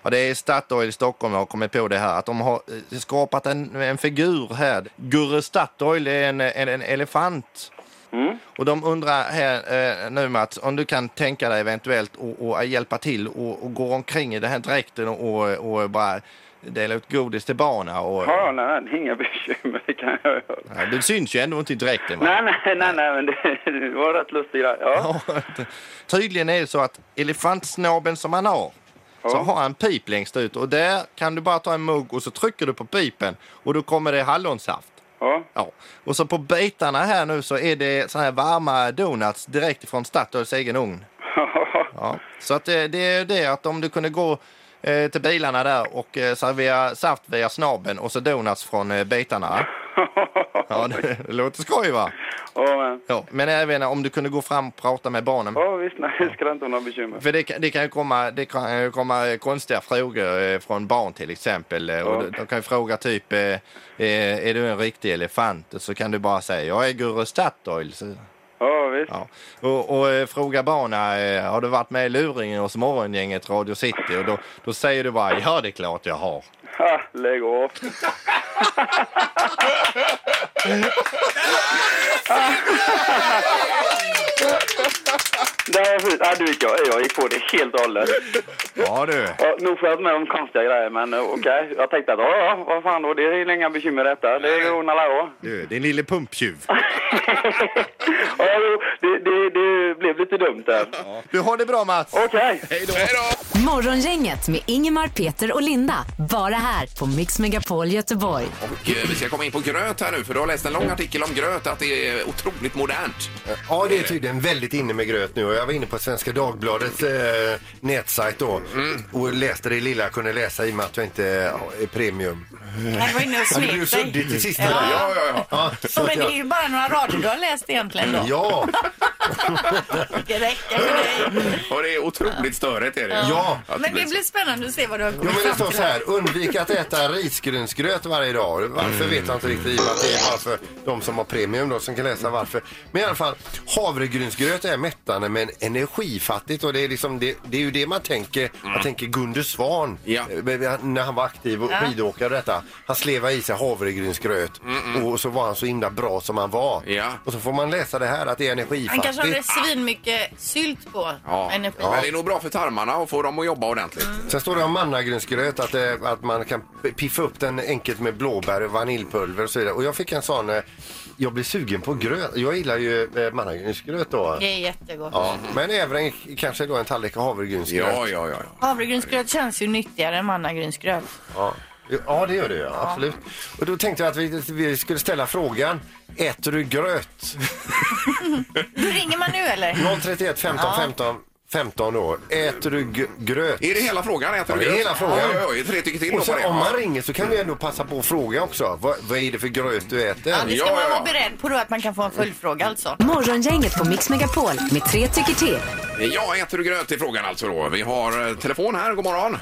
Speaker 6: ja, det är Statoil i Stockholm har kommit på det här, att de har eh, skapat en, en figur här. Gurre Statoil är en, en, en elefant.
Speaker 9: Mm.
Speaker 6: Och de undrar här eh, nu Mats, om du kan tänka dig eventuellt att och, hjälpa till och, och gå omkring i den här dräkten och, och, och bara dela ut godis till barnen. Och,
Speaker 8: Ja, nej, nej, det är inga bekymmer. Det kan jag göra.
Speaker 6: ja, det syns ju ändå inte i dräkten. va?
Speaker 8: Nej, nej, nej, nej, men det, det var rätt lustig grej. Ja.
Speaker 6: Ja, Tydligen är det så att elefantsnabeln som han har så
Speaker 8: Ja.
Speaker 6: har han pip längst ut och där kan du bara ta en mugg och så trycker du på pipen och då kommer det hallonsaft.
Speaker 8: ja.
Speaker 6: Ja. Och så på bitarna här nu så är det så här varma donuts direkt ifrån Statoils egen ugn. Ja. Så att eh, det, det är det att om du kunde gå eh, till bilarna där och eh, servera saft via snabeln och så donuts från eh, bitarna. Ja, det, det låter skoj va?
Speaker 8: Ja, men,
Speaker 6: Ja. Men även om du kunde gå fram och prata med barnen.
Speaker 8: ja visst, nej, det ska inte ha några bekymmer.
Speaker 6: För det, kan- det kan ju komma, det kan ju komma eh, konstiga frågor eh, från barn till exempel. Eh, Och
Speaker 8: Ja.
Speaker 6: de, de kan ju fråga typ, eh, eh, är du en riktig elefant? Och så kan du bara säga, jag är Gurre Statoil. Så,
Speaker 8: Ja, visst.
Speaker 6: ja. och, och eh, fråga barnen, eh, har du varit med i luringen hos morgongänget Radio City? Och då, då säger du bara, ja det är klart jag har.
Speaker 8: Ha, lägg av. Det var fint. Ja, du gick jag. jag gick på det helt och hållet.
Speaker 6: Ja du.
Speaker 8: Ja, nog får jag varit med om konstiga grejer, men eh, okej. Jag tänkte att ja, ja, vad fan då, det är inga bekymmer detta. Det ordnar alla jag.
Speaker 6: Du, din lille pumptjuv.
Speaker 8: Ja, jo, det, det, det blev lite dumt där.
Speaker 6: Du har det bra Mats.
Speaker 8: Okej.
Speaker 2: Hej då!
Speaker 1: Morgongänget med Ingemar, Peter och Linda. Bara här på Mix Megapol Göteborg.
Speaker 2: Och eh, vi ska komma in på gröt här nu för du har läst en lång artikel om gröt att det är otroligt modernt.
Speaker 4: Ja, det är tydligen väldigt inne med gröt nu. Och Jag var inne på Svenska Dagbladets eh, nätsajt då och läste det lilla jag kunde läsa i och med att jag inte ja, är premium.
Speaker 3: Han var inne och
Speaker 4: Hade
Speaker 3: svek
Speaker 4: du
Speaker 3: dig.
Speaker 4: suddigt till sista?
Speaker 3: Ja.
Speaker 4: där?
Speaker 2: Ja, ja, ja.
Speaker 4: Ja, så
Speaker 3: Ja,
Speaker 4: att
Speaker 3: men det är
Speaker 4: jag,
Speaker 3: ju bara några rader du har läst egentligen då.
Speaker 4: ja,
Speaker 3: Det räcker för dig.
Speaker 2: Och det är otroligt störigt är det.
Speaker 4: ja.
Speaker 2: Att
Speaker 3: Men det
Speaker 2: så.
Speaker 3: blir spännande att se vad du har kommit
Speaker 4: Jo, men det
Speaker 3: fram
Speaker 4: står så här, undvik att äta risgrynsgröt varje dag. Varför vet jag inte riktigt, i och med att det är bara för de som har premium då som kan läsa varför. Men i alla fall, havregrynsgröt är mättande men energifattigt och det är, liksom, det, det är ju det man tänker. Jag tänker Gunde Svan,
Speaker 2: Mm. Ja.
Speaker 4: eh, när han var aktiv och skidåkare och detta. Han slevade i sig havregrynsgröt och så var han så himla bra som han var.
Speaker 2: Mm, Ja.
Speaker 4: Och så får man läsa det här att det är
Speaker 3: Han kanske hade
Speaker 4: energifattigt.
Speaker 3: svinmycket sylt på
Speaker 2: Ja.
Speaker 3: energi.
Speaker 2: Men det är nog bra för tarmarna och få dem att jobba ordentligt.
Speaker 3: Mm.
Speaker 4: Sen står det om mannagrynsgröt att, eh, att man kan p- piffa upp den enkelt med blåbär, vaniljpulver och så vidare. Och jag fick en sån, eh, jag blir sugen på gröt. Jag gillar ju eh, mannagrynsgröt då.
Speaker 3: Det är jättegott.
Speaker 4: Ja, men även kanske då en tallrik havregrynsgröt.
Speaker 2: Ja, ja, ja. ja.
Speaker 3: Havregrynsgröt känns ju nyttigare än mannagrynsgröt.
Speaker 4: Ja. Ja, det gör det ja. Absolut. Och då tänkte jag att vi, vi skulle ställa frågan, äter du gröt?
Speaker 3: Hur ringer man nu eller?
Speaker 4: 031 15 15 15 då. Äter du g- gröt?
Speaker 2: Är det hela frågan? Äter
Speaker 4: Ja,
Speaker 2: du
Speaker 4: det är
Speaker 2: gröt?
Speaker 4: hela frågan.
Speaker 2: Ja, ja, ja. Tre tycker till då
Speaker 4: Och
Speaker 2: på
Speaker 4: sen
Speaker 2: det.
Speaker 4: om man ringer så kan vi ändå passa på att fråga också. Vad, vad är det för gröt du äter?
Speaker 3: Ja, det ska
Speaker 2: Ja,
Speaker 3: man
Speaker 2: ja,
Speaker 3: vara
Speaker 2: ja.
Speaker 3: beredd på då att man kan få en följdfråga alltså.
Speaker 1: Morgongänget på Mix Megapol med tre tycker till.
Speaker 2: Ja, äter du gröt i frågan alltså då. Vi har eh, telefon här, god morgon.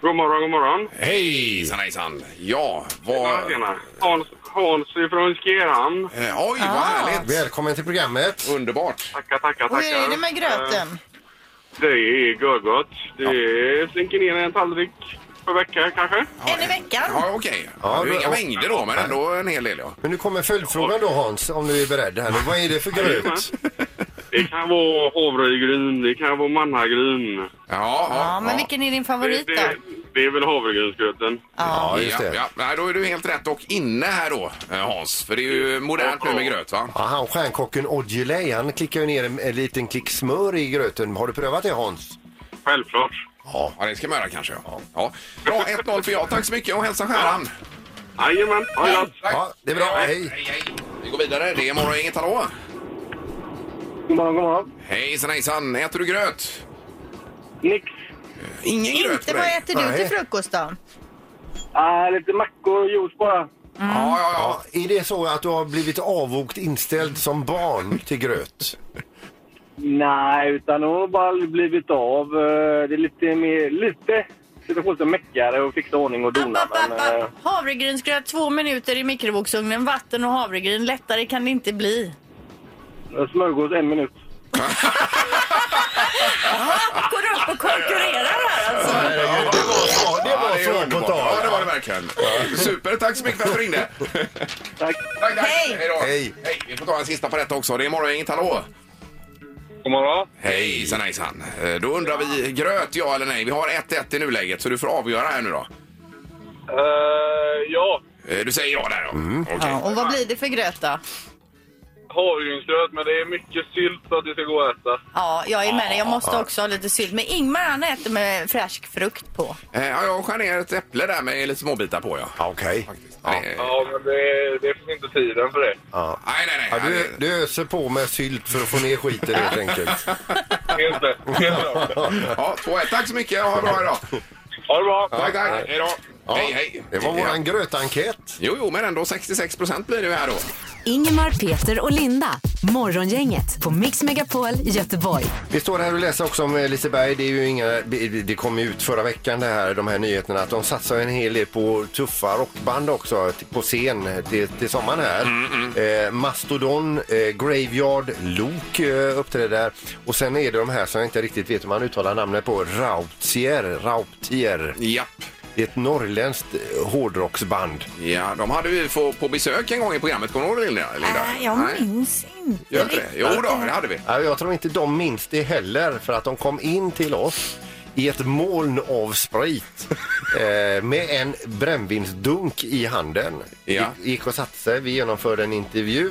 Speaker 9: God morgon, god morgon.
Speaker 2: Hej! Hejsan hejsan. Ja,
Speaker 9: Tjena,
Speaker 2: vad...
Speaker 9: tjena. Hans, Hans ifrån Skerhamn.
Speaker 2: Eh, Oj,
Speaker 3: Ah.
Speaker 2: vad härligt!
Speaker 4: Välkommen till programmet.
Speaker 2: Underbart.
Speaker 9: Tackar, tackar,
Speaker 3: Och
Speaker 9: tackar.
Speaker 3: hur är det med
Speaker 9: Eh,
Speaker 3: gröten?
Speaker 9: Det är görgott. Det är, slinker ner en tallrik
Speaker 10: per vecka kanske.
Speaker 3: En i veckan.
Speaker 2: Ja, okej. det
Speaker 4: Ja,
Speaker 2: är ju
Speaker 4: då-
Speaker 2: inga mängder då, men ändå en hel del. Ja.
Speaker 4: Men nu kommer följdfrågan då Hans, om du är beredd här nu. Vad är det för gröt?
Speaker 10: Det kan vara havregryn, det kan vara mannagryn.
Speaker 2: Ja,
Speaker 3: Ja, men
Speaker 2: ja.
Speaker 3: vilken är din
Speaker 10: Det,
Speaker 3: favorit då?
Speaker 10: det, det är väl havregrynsgröten.
Speaker 4: Ja, just
Speaker 2: Ja,
Speaker 4: det.
Speaker 2: ja. Nej, då är du helt rätt och inne här då, eh, Hans. För det är ju modernt nu med gröt, va?
Speaker 4: Ja, han stjärnkocken Aujalay, han klickar ju ner en, en liten klick smör i gröten. Har du prövat det Hans?
Speaker 10: Självklart.
Speaker 2: Ja, det ska man göra kanske. Ja. Ja. Bra, 1-0 för ja. Tack så mycket och hälsa Stjärnan.
Speaker 10: Jajamän, ha det gott.
Speaker 2: Tack.
Speaker 4: Ja, det är bra. Hej.
Speaker 2: Vi går vidare. Det är Morgongänget, hallå!
Speaker 6: God morgon, god morgon.
Speaker 2: Hejsan hejsan! Äter du gröt? Eh,
Speaker 6: Nix.
Speaker 2: Ingen gröt
Speaker 3: Inte
Speaker 2: på
Speaker 3: vad
Speaker 2: dig?
Speaker 3: äter du
Speaker 4: Nej.
Speaker 3: till frukost då?
Speaker 6: Ah, lite mackor och juice bara.
Speaker 2: Ja, ja,
Speaker 6: Mm.
Speaker 2: ja.
Speaker 4: Ja, är det så att du har blivit avvokt inställd som barn till gröt?
Speaker 6: Nej, utan hon har bara blivit av. eh, Det är lite mer, lite, lite meckigare och fixa ordning och
Speaker 3: App,
Speaker 6: dona.
Speaker 3: app,
Speaker 6: Men,
Speaker 3: app,
Speaker 6: eh,
Speaker 3: app. Havregrynsgröt två minuter i mikrovågsugnen, vatten och havregryn. Lättare kan det inte bli.
Speaker 10: Eh,
Speaker 6: smörgås en minut.
Speaker 3: Går du upp och konkurrerar här alltså?
Speaker 4: Herregud, Det var så, det
Speaker 2: Ja,
Speaker 4: var
Speaker 2: är
Speaker 4: så på
Speaker 2: underbart.
Speaker 4: tal.
Speaker 2: Ja, det var det verkligen. Super, tack så mycket för att du ringde.
Speaker 6: Tack.
Speaker 2: Tack, tack.
Speaker 3: Hej.
Speaker 2: då.
Speaker 4: Hej.
Speaker 2: Hej! Vi får ta en sista på detta också. Det är Morgongänget, hallå!
Speaker 10: God morgon.
Speaker 2: Hejsan hejsan! Eh, Då undrar vi, gröt ja eller nej? Vi har 1-1 i nuläget så du får avgöra här nu då.
Speaker 10: Eh, ja,
Speaker 2: Eh, Du säger ja där ja.
Speaker 6: Mm.
Speaker 2: Okej.
Speaker 3: Ja, och vad blir det för gröt då?
Speaker 10: havregrynsgröt, men det är mycket sylt så att det ska gå att äta.
Speaker 3: Ja, jag är med dig. Jag måste också ha lite sylt. Men Ingmar han äter med färsk frukt på.
Speaker 2: Eh, Ja, jag skär ner ett äpple där med lite småbitar på ja.
Speaker 4: Ja, Okej.
Speaker 2: Nej, eh,
Speaker 10: Ja, men det, det finns inte tiden för det.
Speaker 2: Nej, nej, nej.
Speaker 4: Ja, du, du öser på med sylt för att få ner skiten helt enkelt.
Speaker 10: Helt rätt. Helt rätt.
Speaker 2: Ja, 2-1. Tack så mycket. Ha det bra idag.
Speaker 10: Ha det bra.
Speaker 2: Tack, tack. Hej då.
Speaker 4: Ja,
Speaker 2: Hej, hej.
Speaker 4: Det var
Speaker 2: Ja.
Speaker 4: våran grötenkät.
Speaker 2: Jo, jo, men ändå 66 procent blir det ju här då.
Speaker 1: Ingemar, Peter och Linda. Morgongänget på Mix Megapol i Göteborg.
Speaker 4: Vi står här och läser också om eh, Liseberg. Det, är ju inga, det kom ju ut förra veckan det här, de här nyheterna att de satsar en hel del på tuffa rockband också till- på scen till, till sommaren här. Eh, Mastodon, eh, Graveyard, Lok eh, uppträder där. Och sen är det de här som jag inte riktigt vet hur man uttalar namnet på. Rautier, Rautier.
Speaker 2: Japp.
Speaker 4: Det är ett norrländskt eh, hårdrocksband.
Speaker 2: Ja, de hade vi få, på besök en gång i programmet. Kommer du ihåg det, Linda? Linda?
Speaker 3: Äh, jag minns inte.
Speaker 2: Gör inte det? Jo då, det hade vi.
Speaker 4: Ja, Jag tror inte de minns det heller för att de kom in till oss i ett moln av sprit eh, med en brännvinsdunk i handen.
Speaker 2: Ja. Mm.
Speaker 4: Gick- Gick och satte sig, vi genomförde en intervju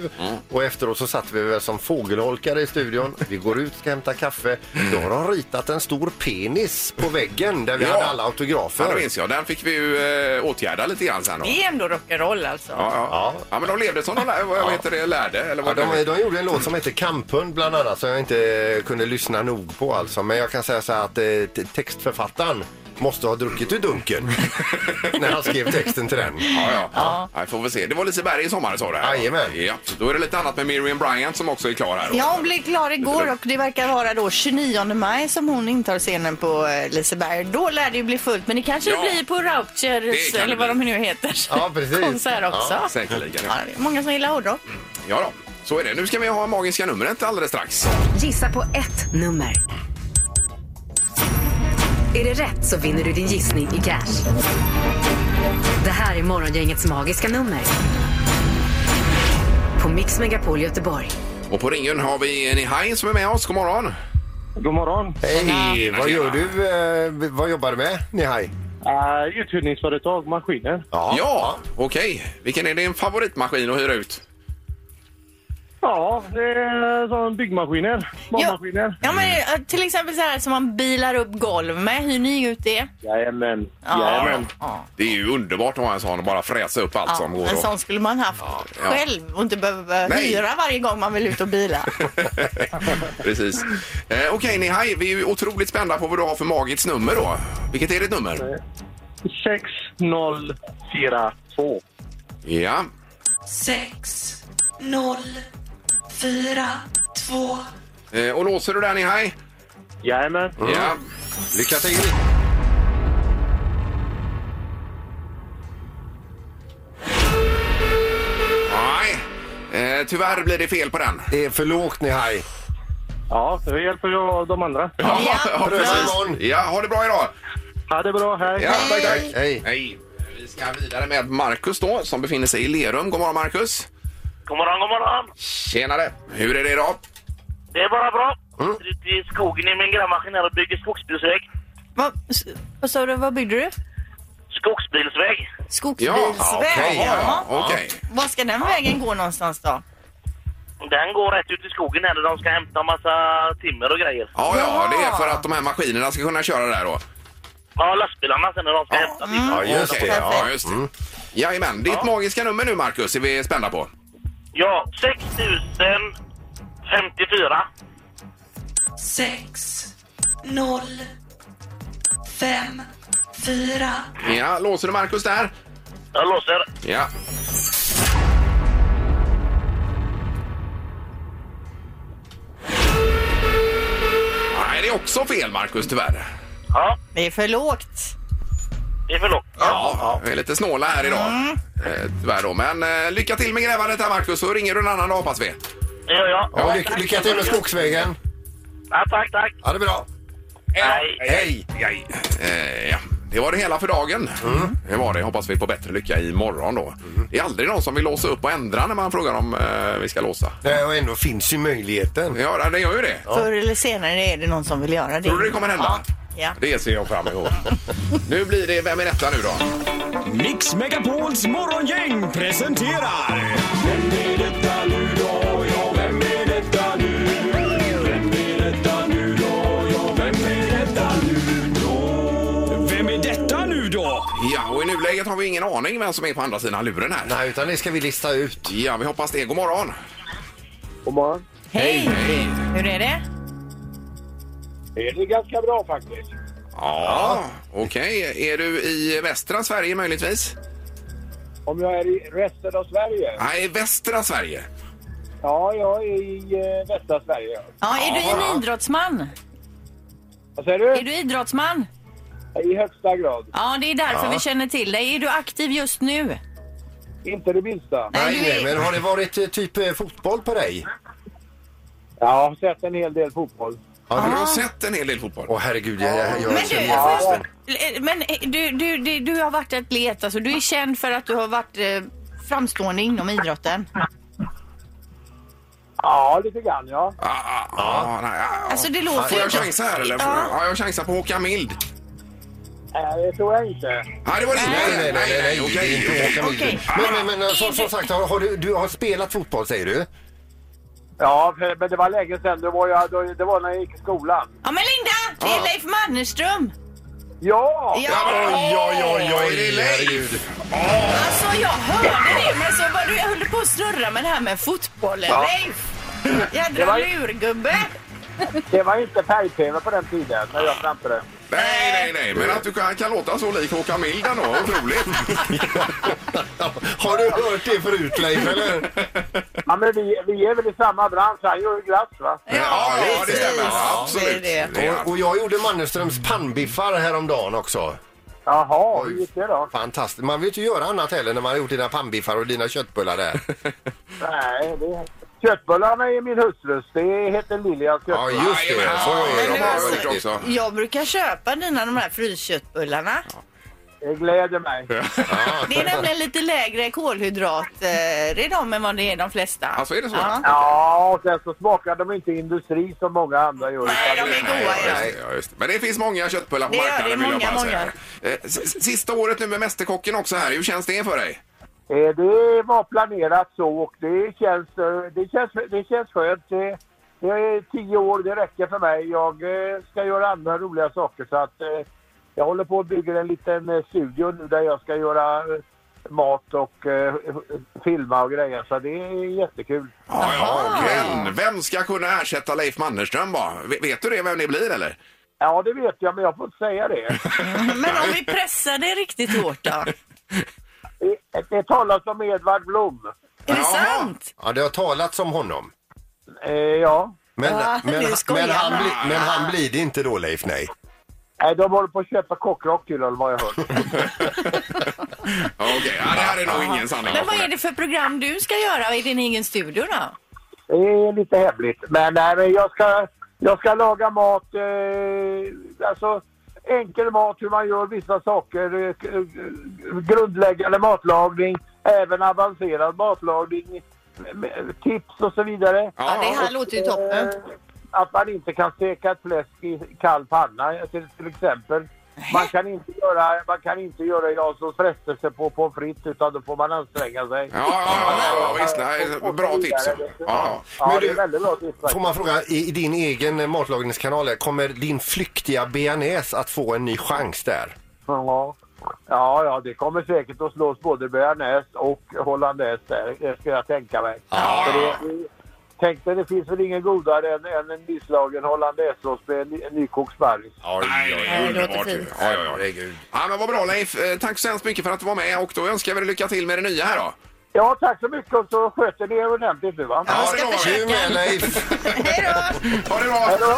Speaker 4: och efteråt så satt vi väl som fågelholkare i studion. Vi går ut, ska hämta kaffe. Då har de ritat en stor penis på väggen där vi
Speaker 2: Ja.
Speaker 4: hade alla
Speaker 2: Ja, det
Speaker 4: autografer.
Speaker 2: minns jag. Den fick vi ju eh, åtgärda lite grann sen. Då. Ja,
Speaker 3: Det är ändå rock'n'roll alltså.
Speaker 2: ja. Ja. men de levde som de lär, vad heter det, lärde. Eller
Speaker 4: Ja,
Speaker 2: vad det
Speaker 4: de,
Speaker 2: är.
Speaker 4: de gjorde en låt som heter Kamphund bland annat som jag inte kunde lyssna nog på alltså. Men jag kan säga så här att eh, te- textförfattaren måste ha druckit ur dunken när han skrev texten till den.
Speaker 2: Ja, ja. ja. vi får väl se. Det var Liseberg i sommar sa du? här.
Speaker 4: Jajamän.
Speaker 2: Ja, då är det lite annat med Miriam Bryant som också är klar här. då.
Speaker 3: Ja, hon blev klar igår och det verkar vara då 29 maj som hon intar scenen på eh, Liseberg. Då lär det ju bli fullt, men det kanske
Speaker 2: Ja.
Speaker 3: blir på Routers
Speaker 2: Det kan
Speaker 3: eller
Speaker 2: det
Speaker 3: vad de
Speaker 2: bli.
Speaker 3: nu heter.
Speaker 4: Ja, precis.
Speaker 3: Konsert också. Ja,
Speaker 2: Säkerligen. Ja.
Speaker 3: det är många som gillar hårdrock.
Speaker 2: ja då, så är det. Nu ska vi ha magiska numret alldeles strax.
Speaker 1: Gissa på ett nummer. Är det rätt så vinner du din gissning i cash. Det här är Morgongängets magiska nummer. På Mix Megapol Göteborg.
Speaker 2: Och på ringen har vi Nihai som är med oss. God morgon!
Speaker 6: God morgon.
Speaker 4: Hej, vad gör du? eh, Vad jobbar du med, Nihai?
Speaker 6: Uh, uthyrningsföretag, maskiner.
Speaker 2: Ja, okej. Vilken är din favoritmaskin att hyra ut?
Speaker 6: Ja, det är sån byggmaskiner.
Speaker 3: Ja, ja, men
Speaker 2: Mm.
Speaker 3: eh, till exempel så här som man bilar upp golv med. Hyr ni ut det?
Speaker 6: Jajamän.
Speaker 3: ja.
Speaker 2: Det är ju underbart att ha en sån och bara fräsa upp allt
Speaker 3: Ja,
Speaker 2: som går.
Speaker 3: en
Speaker 2: att-
Speaker 3: sån skulle man haft själv och inte behöva
Speaker 2: Nej.
Speaker 3: hyra varje gång man vill ut och bila.
Speaker 2: Precis. Eh, okej, Nihai, vi är ju otroligt spända på vad du har för magiskt nummer då. Vilket är ditt nummer?
Speaker 6: 6042.
Speaker 2: Ja. Eh, och låser du där, Nihai?
Speaker 6: Jajamän.
Speaker 2: Ja.
Speaker 4: Lycka till!
Speaker 2: Nej. Eh, tyvärr blir det fel på den.
Speaker 4: Det är för lågt, Nihai.
Speaker 6: Ja, det hjälper jag de andra.
Speaker 2: Ja,
Speaker 4: Pröva imorgon.
Speaker 2: Ja, ha det bra idag!
Speaker 10: Ha det bra, hej!
Speaker 2: Ja, tack, tack.
Speaker 4: Hej.
Speaker 2: Hej. Vi ska vidare med Marcus då, som befinner sig i Lerum. God morgon Marcus!
Speaker 10: God morgon, god morgon!
Speaker 2: Tjenare! Hur är det idag?
Speaker 10: Det är bara bra. Mm. Ute i skogen i min grannmaskin här och bygger skogsbilsväg.
Speaker 3: Vad, s- vad sa du, vad byggde du?
Speaker 10: Skogsbilsväg.
Speaker 3: Skogsbilsväg?
Speaker 2: Ja, okej, ja,
Speaker 3: Jaha.
Speaker 2: okej.
Speaker 3: Var ska den vägen gå någonstans då?
Speaker 10: Den går rätt ut i skogen här där de ska hämta massa timmer och grejer.
Speaker 2: Ja, ja,
Speaker 3: Ja.
Speaker 2: det är för att de här maskinerna ska kunna köra där då.
Speaker 10: Ja, lastbilarna sen när de ska
Speaker 2: Ja.
Speaker 10: hämta timmer.
Speaker 4: Ja, just
Speaker 2: Okej,
Speaker 4: det.
Speaker 2: Ja, Mm. just det. Jajamän, ditt magiska nummer nu Marcus är vi spända på.
Speaker 10: Ja, 6054.
Speaker 2: Ja, låser du Marcus där?
Speaker 10: Jag låser.
Speaker 2: Ja. Nej, det är också fel Marcus tyvärr.
Speaker 10: Ja,
Speaker 3: Det är för lågt.
Speaker 10: det är för lågt.
Speaker 2: Ja, vi är lite snåla här idag. Eh, tyvärr då. Men eh, lycka till med grävandet här Marcus så ringer du en annan dag hoppas vi.
Speaker 10: Det gör jag.
Speaker 4: Ja, lycka, lycka till med skogsvägen.
Speaker 10: Ja, tack, tack.
Speaker 4: Ha det bra.
Speaker 10: Hej.
Speaker 2: Hej! Hej. Eh, ja. Det var det hela för dagen. Det var det. Hoppas vi får bättre lycka imorgon då. Det är aldrig någon som vill låsa upp och ändra när man frågar om eh, vi ska låsa.
Speaker 4: Nej, och ändå finns ju möjligheten.
Speaker 2: Ja, det gör ju det.
Speaker 3: Förr eller senare är det någon som vill göra det.
Speaker 2: Tror du det kommer hända?
Speaker 3: Ja.
Speaker 2: Det ser jag fram emot. nu blir det Vem är detta nu då?
Speaker 11: Mix Megapols morgongäng presenterar... Vem är detta nu då? Ja, vem är detta nu? Vem är detta nu då? Ja, vem är detta nu då? Vem är detta nu då?
Speaker 2: Ja, och i nuläget har vi ingen aning vem som är på andra sidan luren här.
Speaker 4: Nej, utan det ska vi lista ut.
Speaker 2: Ja, vi hoppas det. God morgon!
Speaker 6: God morgon.
Speaker 3: Hej! Hur är det?
Speaker 6: Det är ganska bra faktiskt.
Speaker 2: Ja, okej. Är du i västra Sverige möjligtvis?
Speaker 6: Om jag är i resten av Sverige?
Speaker 2: Nej, västra Sverige.
Speaker 6: Ja, jag är i eh, västra Sverige.
Speaker 3: Ja, är du en idrottsman?
Speaker 6: Vad säger
Speaker 3: Är
Speaker 6: du?
Speaker 3: du idrottsman?
Speaker 6: I högsta grad.
Speaker 3: Ja, det är därför vi känner till dig. Är du aktiv just nu?
Speaker 6: Inte det minsta.
Speaker 3: Nej,
Speaker 4: Nej,
Speaker 3: du
Speaker 4: nej,
Speaker 3: är-
Speaker 4: men har det varit eh, typ eh, fotboll på dig?
Speaker 6: Jag har sett en hel del fotboll.
Speaker 2: Har du har sett en hel del fotboll?
Speaker 4: Åh herregud, jag, jag,
Speaker 3: Ah.
Speaker 4: jag
Speaker 3: Men du,
Speaker 4: ser-
Speaker 3: får jag ställa- eh, men eh, du, du, du, du har varit atlet, alltså. Du är känd för att du har varit eh, framstående inom idrotten.
Speaker 6: Ja, lite grann ja.
Speaker 2: Ah, ah, ah, nej, ah, ah.
Speaker 3: Alltså, det låter
Speaker 2: Får
Speaker 3: ju
Speaker 2: jag
Speaker 3: inte-
Speaker 2: chansa här eller?
Speaker 3: Ja.
Speaker 2: Ja, jag chansar på Håkan Mild.
Speaker 6: Nej, det tror jag inte.
Speaker 2: Nej, det var det inte.
Speaker 4: Nej, nej, nej, nej, nej,
Speaker 2: okej,
Speaker 4: det är
Speaker 2: okej.
Speaker 4: inte Håkan Mild.
Speaker 3: Okej.
Speaker 4: Men, men, men eh,
Speaker 3: Men
Speaker 4: som,
Speaker 3: är
Speaker 4: som
Speaker 3: det-
Speaker 4: sagt, har, har du, du har spelat fotboll säger du?
Speaker 6: Ja, för- men det var länge sedan. Det var, jag, då- det var när jag gick i skolan.
Speaker 3: Ja, men Linda! Det är Leif Mannerström!
Speaker 6: Ja!
Speaker 3: Ja,
Speaker 4: Oj, oj, oj,
Speaker 2: Oj, det är Leif.
Speaker 3: alltså jag hörde det, men så var du, jag höll på att snurra med det här med fotbollen. Leif!
Speaker 6: Det
Speaker 3: Jädra
Speaker 6: var-
Speaker 3: lurgubbe!
Speaker 6: Det var inte färg-tv på den tiden när jag framförde.
Speaker 2: Nej, nej, nej, men att du kan, kan låta så lik Håkan Mild ändå, otroligt.
Speaker 4: Har du hört det förut Leif, eller?
Speaker 6: Ja, men vi, vi är väl i samma bransch. Han gör ju glass va?
Speaker 2: Ja, ja, det
Speaker 3: precis.
Speaker 2: stämmer. Ja,
Speaker 3: Det
Speaker 2: absolut.
Speaker 3: är det.
Speaker 2: Det är-
Speaker 4: Och, och jag gjorde Mannerströms pannbiffar häromdagen också.
Speaker 6: Jaha, hur gick det då?
Speaker 4: Fantastiskt. Man vill ju inte göra annat heller när man har gjort dina pannbiffar och dina köttbullar där.
Speaker 6: Nej, det... Köttbullarna är min hustrus. Det heter Lilians
Speaker 4: Ja,
Speaker 6: köttbullar.
Speaker 4: just
Speaker 2: Jajamän,
Speaker 4: det. Så
Speaker 2: ja,
Speaker 4: är
Speaker 2: men
Speaker 4: de.
Speaker 2: det har jag gjort
Speaker 4: faktiskt.
Speaker 2: också.
Speaker 3: Jag brukar köpa dina de här frysköttbullarna.
Speaker 6: Det gläder mig.
Speaker 3: Det är nämligen lite lägre kolhydrater i dem än vad det är i de flesta.
Speaker 2: Alltså, är det så?
Speaker 3: Ja.
Speaker 6: Ja, och sen så smakar de inte industri som många andra gör.
Speaker 3: Nej, de är
Speaker 2: Nej,
Speaker 3: goda.
Speaker 2: ja,
Speaker 3: ja.
Speaker 2: just det, ja, just det. Men det finns många köttbullar på
Speaker 3: Det gör det,
Speaker 2: marknaden vill jag
Speaker 3: många,
Speaker 2: bara säga. Eh, s- s- Sista året nu med Mästerkocken också här, hur känns det för dig?
Speaker 6: Eh, Det var planerat så och det känns, eh, det känns, det känns skönt. Det, det är tio år, det räcker för mig. Jag eh, ska göra andra roliga saker så att eh, jag håller på och bygger en liten eh, studio nu där jag ska göra eh, mat och eh, filma och grejer. Så det är jättekul.
Speaker 2: Ja, ja, men vem ska kunna ersätta Leif Mannerström bara? Ve- Vet du det, vem det blir eller?
Speaker 6: Ja, det vet jag, men jag får inte säga det.
Speaker 3: Men om vi pressar det riktigt hårt då?
Speaker 6: Det, det talas om Edvard Blom.
Speaker 3: Är det
Speaker 2: Jaha.
Speaker 3: sant?
Speaker 4: Ja, det har talats om honom.
Speaker 6: Eh, ja.
Speaker 4: Men,
Speaker 3: Ja,
Speaker 4: men,
Speaker 3: nu skojar
Speaker 4: men, han
Speaker 3: han.
Speaker 4: bli, men han blir det inte då Leif, nej.
Speaker 6: Nej, de håller på att köpa kockrock till eller vad jag hört.
Speaker 2: Ja, Okej, ja, det här är nog ingen sanning.
Speaker 3: Men vad är det för program du ska göra i din egen studio då?
Speaker 6: Det är lite hemligt. Men, nej, men jag, ska, jag ska laga mat. Eh, alltså, enkel mat, hur man gör vissa saker, eh, k- eh, grundläggande matlagning, även avancerad matlagning, m- m- tips och så vidare.
Speaker 3: Ja, det här låter ju toppen.
Speaker 6: Eh, Att man inte kan steka ett fläsk i kall panna eh, till, till exempel. Man kan inte göra, man kan inte göra Janssons frestelse på pommes frites utan då får man anstränga sig.
Speaker 2: Ja, ja, ja, ja visst. Nej, bra tips. Ja.
Speaker 6: Ja,
Speaker 4: Men
Speaker 6: det
Speaker 4: du-
Speaker 6: är väldigt bra tips.
Speaker 4: Får man fråga, i, i din egen eh, matlagningskanal, här, kommer din flyktiga bearnaise att få en ny chans där?
Speaker 6: Ja. Ja, ja, det kommer säkert att slås både bearnaise och hollandaise där, det ska jag tänka mig.
Speaker 2: Ja,
Speaker 6: För
Speaker 2: ja.
Speaker 6: det- Tänk dig, det finns väl ingen godare än, än en nyslagen hollandaisesås med en ny- en nykokt sparris.
Speaker 2: Nej, det är
Speaker 3: det låter
Speaker 2: underbart. ju.
Speaker 3: fint.
Speaker 2: Ja, ja, ja. Ja, men vad bra Leif. Eh, Tack så hemskt mycket för att du var med och då önskar vi dig lycka till med det nya här då.
Speaker 6: Ja, tack så mycket och så sköter ni er ordentligt nu va?
Speaker 2: Ja,
Speaker 3: ska
Speaker 2: det lovar
Speaker 4: Du
Speaker 2: vi.
Speaker 4: med Leif!
Speaker 2: Ha det bra.
Speaker 6: Hej då!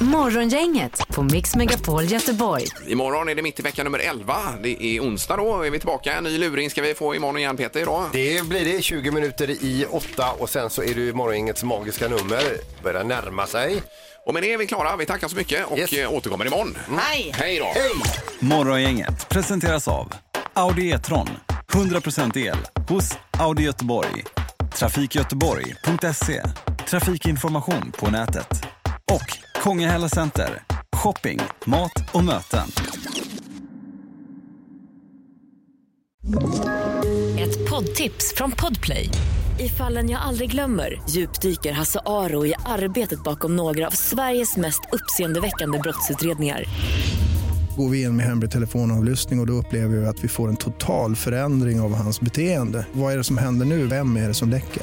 Speaker 1: Morgongänget på Mix Megapol Göteborg.
Speaker 2: Imorgon är det mitt i vecka nummer 11. Det är onsdag då. Är vi tillbaka? En ny luring ska vi få imorgon igen Peter idag.
Speaker 4: Det blir det, 20 minuter i åtta och sen så är det ju morgongängets magiska nummer. Börjar närma sig.
Speaker 2: Och med det är vi klara. Vi tackar så mycket och
Speaker 4: Yes.
Speaker 2: eh, återkommer imorgon.
Speaker 3: Hej!
Speaker 2: Hej då.
Speaker 11: Morgongänget presenteras av Audi E-tron. 100% el hos Audi Göteborg. Trafikgöteborg.se. Trafikinformation på nätet. Och Kongahälla Center. Shopping, mat och möten.
Speaker 12: Ett poddtips från Podplay. I fallen jag aldrig glömmer djupdyker Hasse Aro i arbetet bakom några av Sveriges mest uppseendeväckande brottsutredningar.
Speaker 13: Går vi in med hemlig telefonavlyssning och, och då upplever vi att vi får en total förändring av hans beteende. Vad är det som händer nu? Vem är det som läcker?